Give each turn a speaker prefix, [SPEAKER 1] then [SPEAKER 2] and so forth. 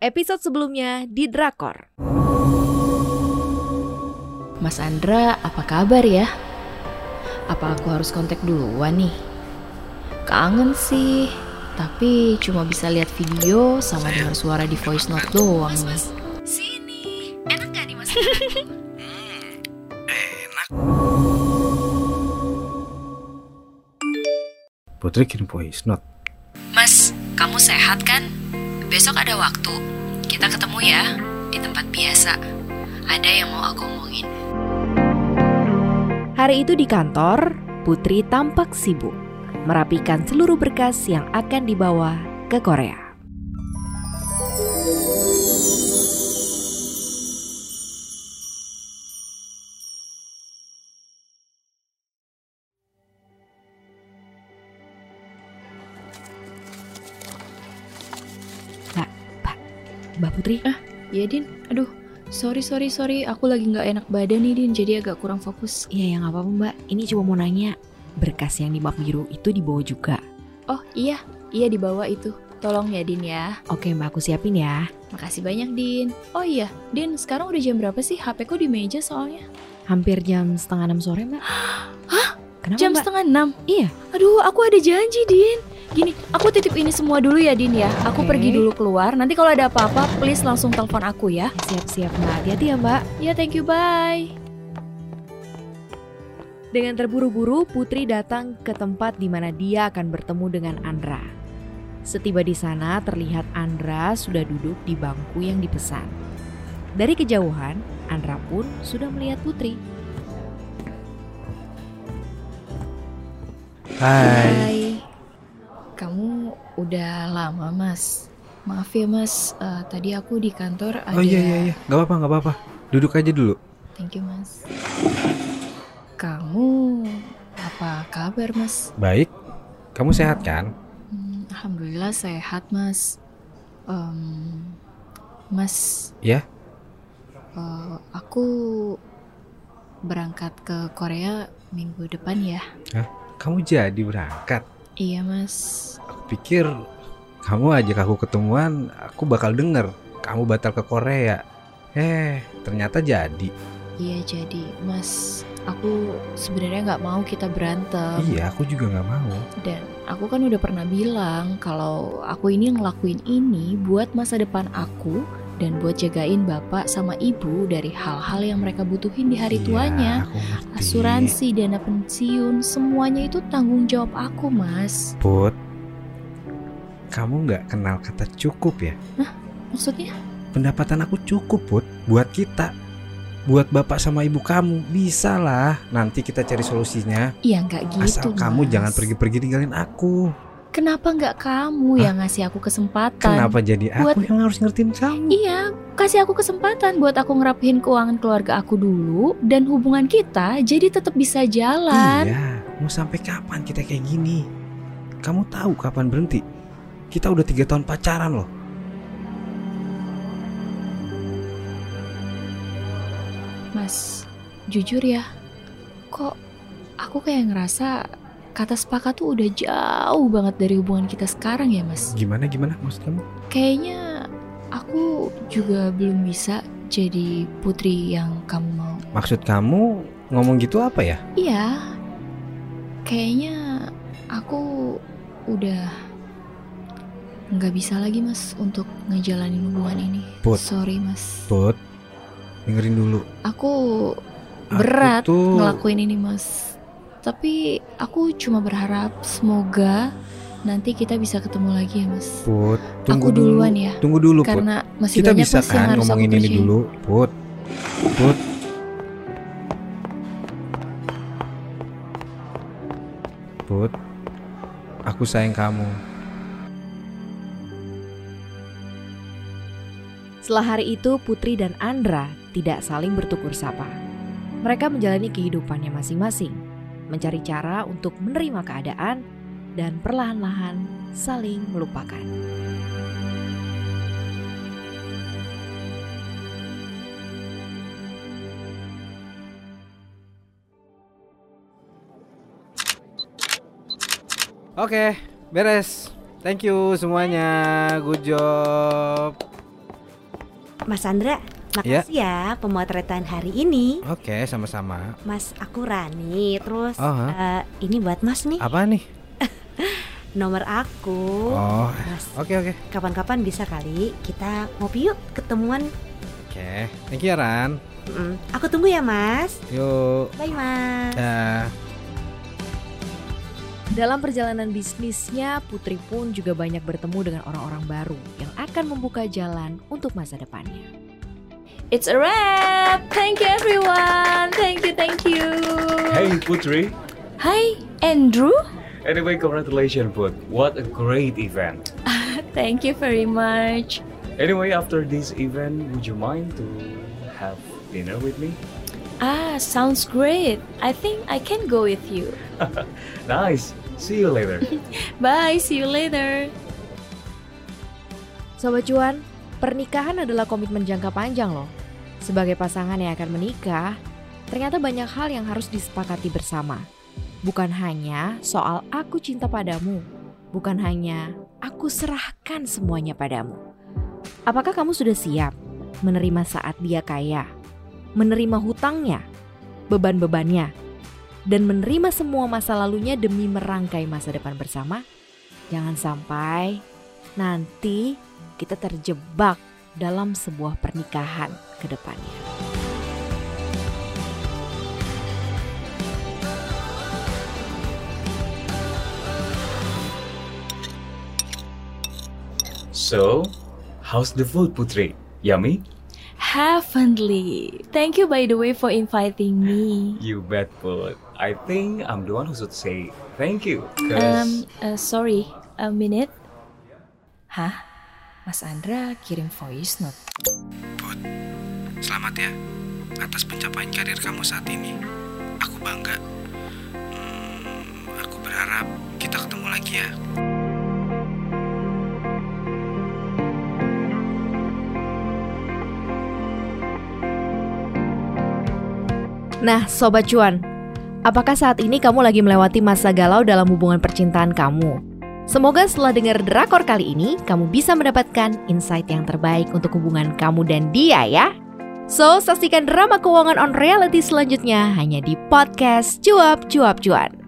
[SPEAKER 1] Episode sebelumnya di Drakor.
[SPEAKER 2] Mas Andra, apa kabar ya? Apa aku harus kontak duluan nih? Kangen sih, tapi cuma bisa lihat video sama dengar suara di voice note doang nih.
[SPEAKER 1] Sini. Enak gak nih Mas?
[SPEAKER 3] Putri kirim voice note.
[SPEAKER 2] Mas, kamu sehat kan? Besok ada waktu. Kita ketemu ya di tempat biasa. Ada yang mau aku omongin.
[SPEAKER 1] Hari itu di kantor, Putri tampak sibuk merapikan seluruh berkas yang akan dibawa ke Korea. Mbak, Mbak, Mbak Putri,
[SPEAKER 2] Ya Din, aduh, sorry sorry sorry, aku lagi nggak enak badan nih Din, jadi agak kurang fokus.
[SPEAKER 1] iya ya nggak apa-apa Mbak. Ini cuma mau nanya, berkas yang di map biru itu dibawa juga.
[SPEAKER 2] Oh iya, iya dibawa itu. Tolong ya Din ya.
[SPEAKER 1] Oke Mbak, aku siapin ya.
[SPEAKER 2] Makasih banyak Din. Oh iya, Din sekarang udah jam berapa sih? HP ku di meja soalnya.
[SPEAKER 1] Hampir jam setengah enam sore mbak. Hah? Kenapa
[SPEAKER 2] jam
[SPEAKER 1] mbak?
[SPEAKER 2] setengah enam.
[SPEAKER 1] Iya.
[SPEAKER 2] Aduh, aku ada janji Din. Gini, aku titip ini semua dulu ya Din ya. Aku
[SPEAKER 1] Oke.
[SPEAKER 2] pergi dulu keluar. Nanti kalau ada apa-apa, please langsung telepon aku ya.
[SPEAKER 1] Siap-siap mbak, hati-hati ya mbak.
[SPEAKER 2] Ya thank you, bye.
[SPEAKER 1] Dengan terburu-buru, Putri datang ke tempat di mana dia akan bertemu dengan Andra. Setiba di sana, terlihat Andra sudah duduk di bangku yang dipesan. Dari kejauhan, Andra pun sudah melihat Putri.
[SPEAKER 3] Hai.
[SPEAKER 2] Kamu udah lama Mas. Maaf ya Mas, Eh, tadi aku di kantor ada.
[SPEAKER 3] Oh iya iya iya, nggak apa-apa nggak apa-apa. Duduk aja dulu.
[SPEAKER 2] Thank you Mas. Kamu apa kabar Mas?
[SPEAKER 3] Baik. Kamu sehat kan?
[SPEAKER 2] Hmm, Alhamdulillah sehat mas. Em, mas.
[SPEAKER 3] Ya?
[SPEAKER 2] eh, aku berangkat ke Korea minggu depan ya.
[SPEAKER 3] Kamu jadi berangkat.
[SPEAKER 2] Iya mas.
[SPEAKER 3] Aku pikir kamu ajak aku ketemuan, aku bakal denger kamu batal ke Korea. Eh, ternyata jadi.
[SPEAKER 2] Iya jadi mas. Aku sebenarnya nggak mau kita berantem
[SPEAKER 3] Iya, aku juga nggak mau.
[SPEAKER 2] dan aku kan udah pernah bilang kalau aku ini ngelakuin ini buat masa depan aku dan buat jagain bapak sama ibu dari hal-hal yang mereka butuhin di hari
[SPEAKER 3] Iya,
[SPEAKER 2] tuanya.
[SPEAKER 3] aku ngerti.
[SPEAKER 2] Asuransi, dana pensiun, semuanya itu tanggung jawab aku, Mas.
[SPEAKER 3] Put, kamu nggak kenal kata cukup ya?
[SPEAKER 2] Maksudnya?
[SPEAKER 3] pendapatan aku cukup put buat kita buat bapak sama ibu kamu bisa lah nanti kita cari solusinya
[SPEAKER 2] Ya nggak gitu,
[SPEAKER 3] asal kamu
[SPEAKER 2] Mas.
[SPEAKER 3] jangan pergi-pergi tinggalin aku
[SPEAKER 2] Kenapa nggak kamu yang ngasih aku kesempatan?
[SPEAKER 3] kenapa jadi aku
[SPEAKER 2] Kan Buat-
[SPEAKER 3] yang harus ngertiin kamu
[SPEAKER 2] Iya, kasih aku kesempatan buat aku ngerapihin keuangan keluarga aku dulu dan hubungan kita jadi tetap bisa jalan.
[SPEAKER 3] iya mau sampai kapan kita kayak gini kamu tahu kapan berhenti kita udah tiga tahun pacaran loh
[SPEAKER 2] Mas, jujur ya, kok aku kayak ngerasa kata sepakat tuh udah jauh banget dari hubungan kita sekarang ya, Mas?
[SPEAKER 3] gimana gimana maksud kamu
[SPEAKER 2] Kayaknya aku juga belum bisa jadi putri yang kamu mau.
[SPEAKER 3] maksud kamu ngomong gitu apa ya
[SPEAKER 2] Iya, kayaknya aku udah nggak bisa lagi mas untuk ngejalanin hubungan ini.
[SPEAKER 3] Put.
[SPEAKER 2] Sorry mas,
[SPEAKER 3] put dengerin dulu
[SPEAKER 2] aku
[SPEAKER 3] Aku
[SPEAKER 2] Berat
[SPEAKER 3] tuh
[SPEAKER 2] ngelakuin ini mas. Tapi aku cuma berharap semoga nanti kita bisa ketemu lagi ya mas.
[SPEAKER 3] put tunggu
[SPEAKER 2] aku
[SPEAKER 3] dulu
[SPEAKER 2] duluan ya,
[SPEAKER 3] tunggu dulu put
[SPEAKER 2] karena masih
[SPEAKER 3] kita
[SPEAKER 2] banyak
[SPEAKER 3] bisa
[SPEAKER 2] mas yang
[SPEAKER 3] kan
[SPEAKER 2] harus aku
[SPEAKER 3] ngomongin ini
[SPEAKER 2] kerjain.
[SPEAKER 3] dulu put put put aku sayang kamu
[SPEAKER 1] Setelah hari itu, Putri dan Andra tidak saling bertukur sapa. Mereka menjalani kehidupannya masing-masing, mencari cara untuk menerima keadaan, dan perlahan-lahan saling melupakan.
[SPEAKER 3] oke beres thank you semuanya good job
[SPEAKER 4] Mas Andra,
[SPEAKER 3] Iya.
[SPEAKER 4] makasih ya pemotretan hari ini.
[SPEAKER 3] Oke, sama-sama.
[SPEAKER 4] Mas aku Rani, terus
[SPEAKER 3] Oh,
[SPEAKER 4] eh, ini buat Mas nih
[SPEAKER 3] apa nih?
[SPEAKER 4] nomor aku.
[SPEAKER 3] Oh,
[SPEAKER 4] Mas,
[SPEAKER 3] oke oke.
[SPEAKER 4] kapan-kapan bisa kali kita ngopi yuk ketemuan.
[SPEAKER 3] Oke, thank you ya, Ran.
[SPEAKER 4] Mm, Aku tunggu ya Mas.
[SPEAKER 3] Yuk.
[SPEAKER 4] Bye Mas.
[SPEAKER 3] Dah.
[SPEAKER 1] Dalam perjalanan bisnisnya, Putri pun juga banyak bertemu dengan orang-orang baru yang akan membuka jalan untuk masa depannya.
[SPEAKER 2] It's a wrap. Thank you everyone. Thank you, thank you.
[SPEAKER 5] Hey Putri.
[SPEAKER 2] Hi, Andrew.
[SPEAKER 5] Anyway, congratulations, Put. What a great event.
[SPEAKER 2] Thank you very much.
[SPEAKER 5] Anyway, after this event, would you mind to have dinner with me?
[SPEAKER 2] Ah, sounds great. I think I can go with you.
[SPEAKER 5] Nice. See you later.
[SPEAKER 2] Bye, see you later.
[SPEAKER 1] Sobat cuan, pernikahan adalah komitmen jangka panjang loh. Sebagai pasangan yang akan menikah, ternyata banyak hal yang harus disepakati bersama. Bukan hanya soal aku cinta padamu, bukan hanya aku serahkan semuanya padamu. Apakah kamu sudah siap menerima saat dia kaya, menerima hutangnya, beban-bebannya, dan menerima semua masa lalunya demi merangkai masa depan bersama? Jangan sampai nanti kita terjebak dalam sebuah pernikahan ke depannya.
[SPEAKER 5] so, how's the food, Putri? Yummy?
[SPEAKER 2] Heavenly. Thank you by the way for inviting me.
[SPEAKER 5] You bet, Put. I think I'm the one who should say thank you. 'cause-
[SPEAKER 2] Um, uh, sorry, a minute. Hah? Mas Andra kirim voice note.
[SPEAKER 3] Selamat ya atas pencapaian karir kamu saat ini. Aku bangga. Hmm, aku berharap kita ketemu lagi ya.
[SPEAKER 1] Nah, sobat cuan, apakah saat ini kamu lagi melewati masa galau dalam hubungan percintaan kamu? Semoga setelah dengar drakor kali ini, kamu bisa mendapatkan insight yang terbaik untuk hubungan kamu dan dia ya. So, saksikan drama keuangan on reality selanjutnya hanya di podcast Cuap Cuap Cuan.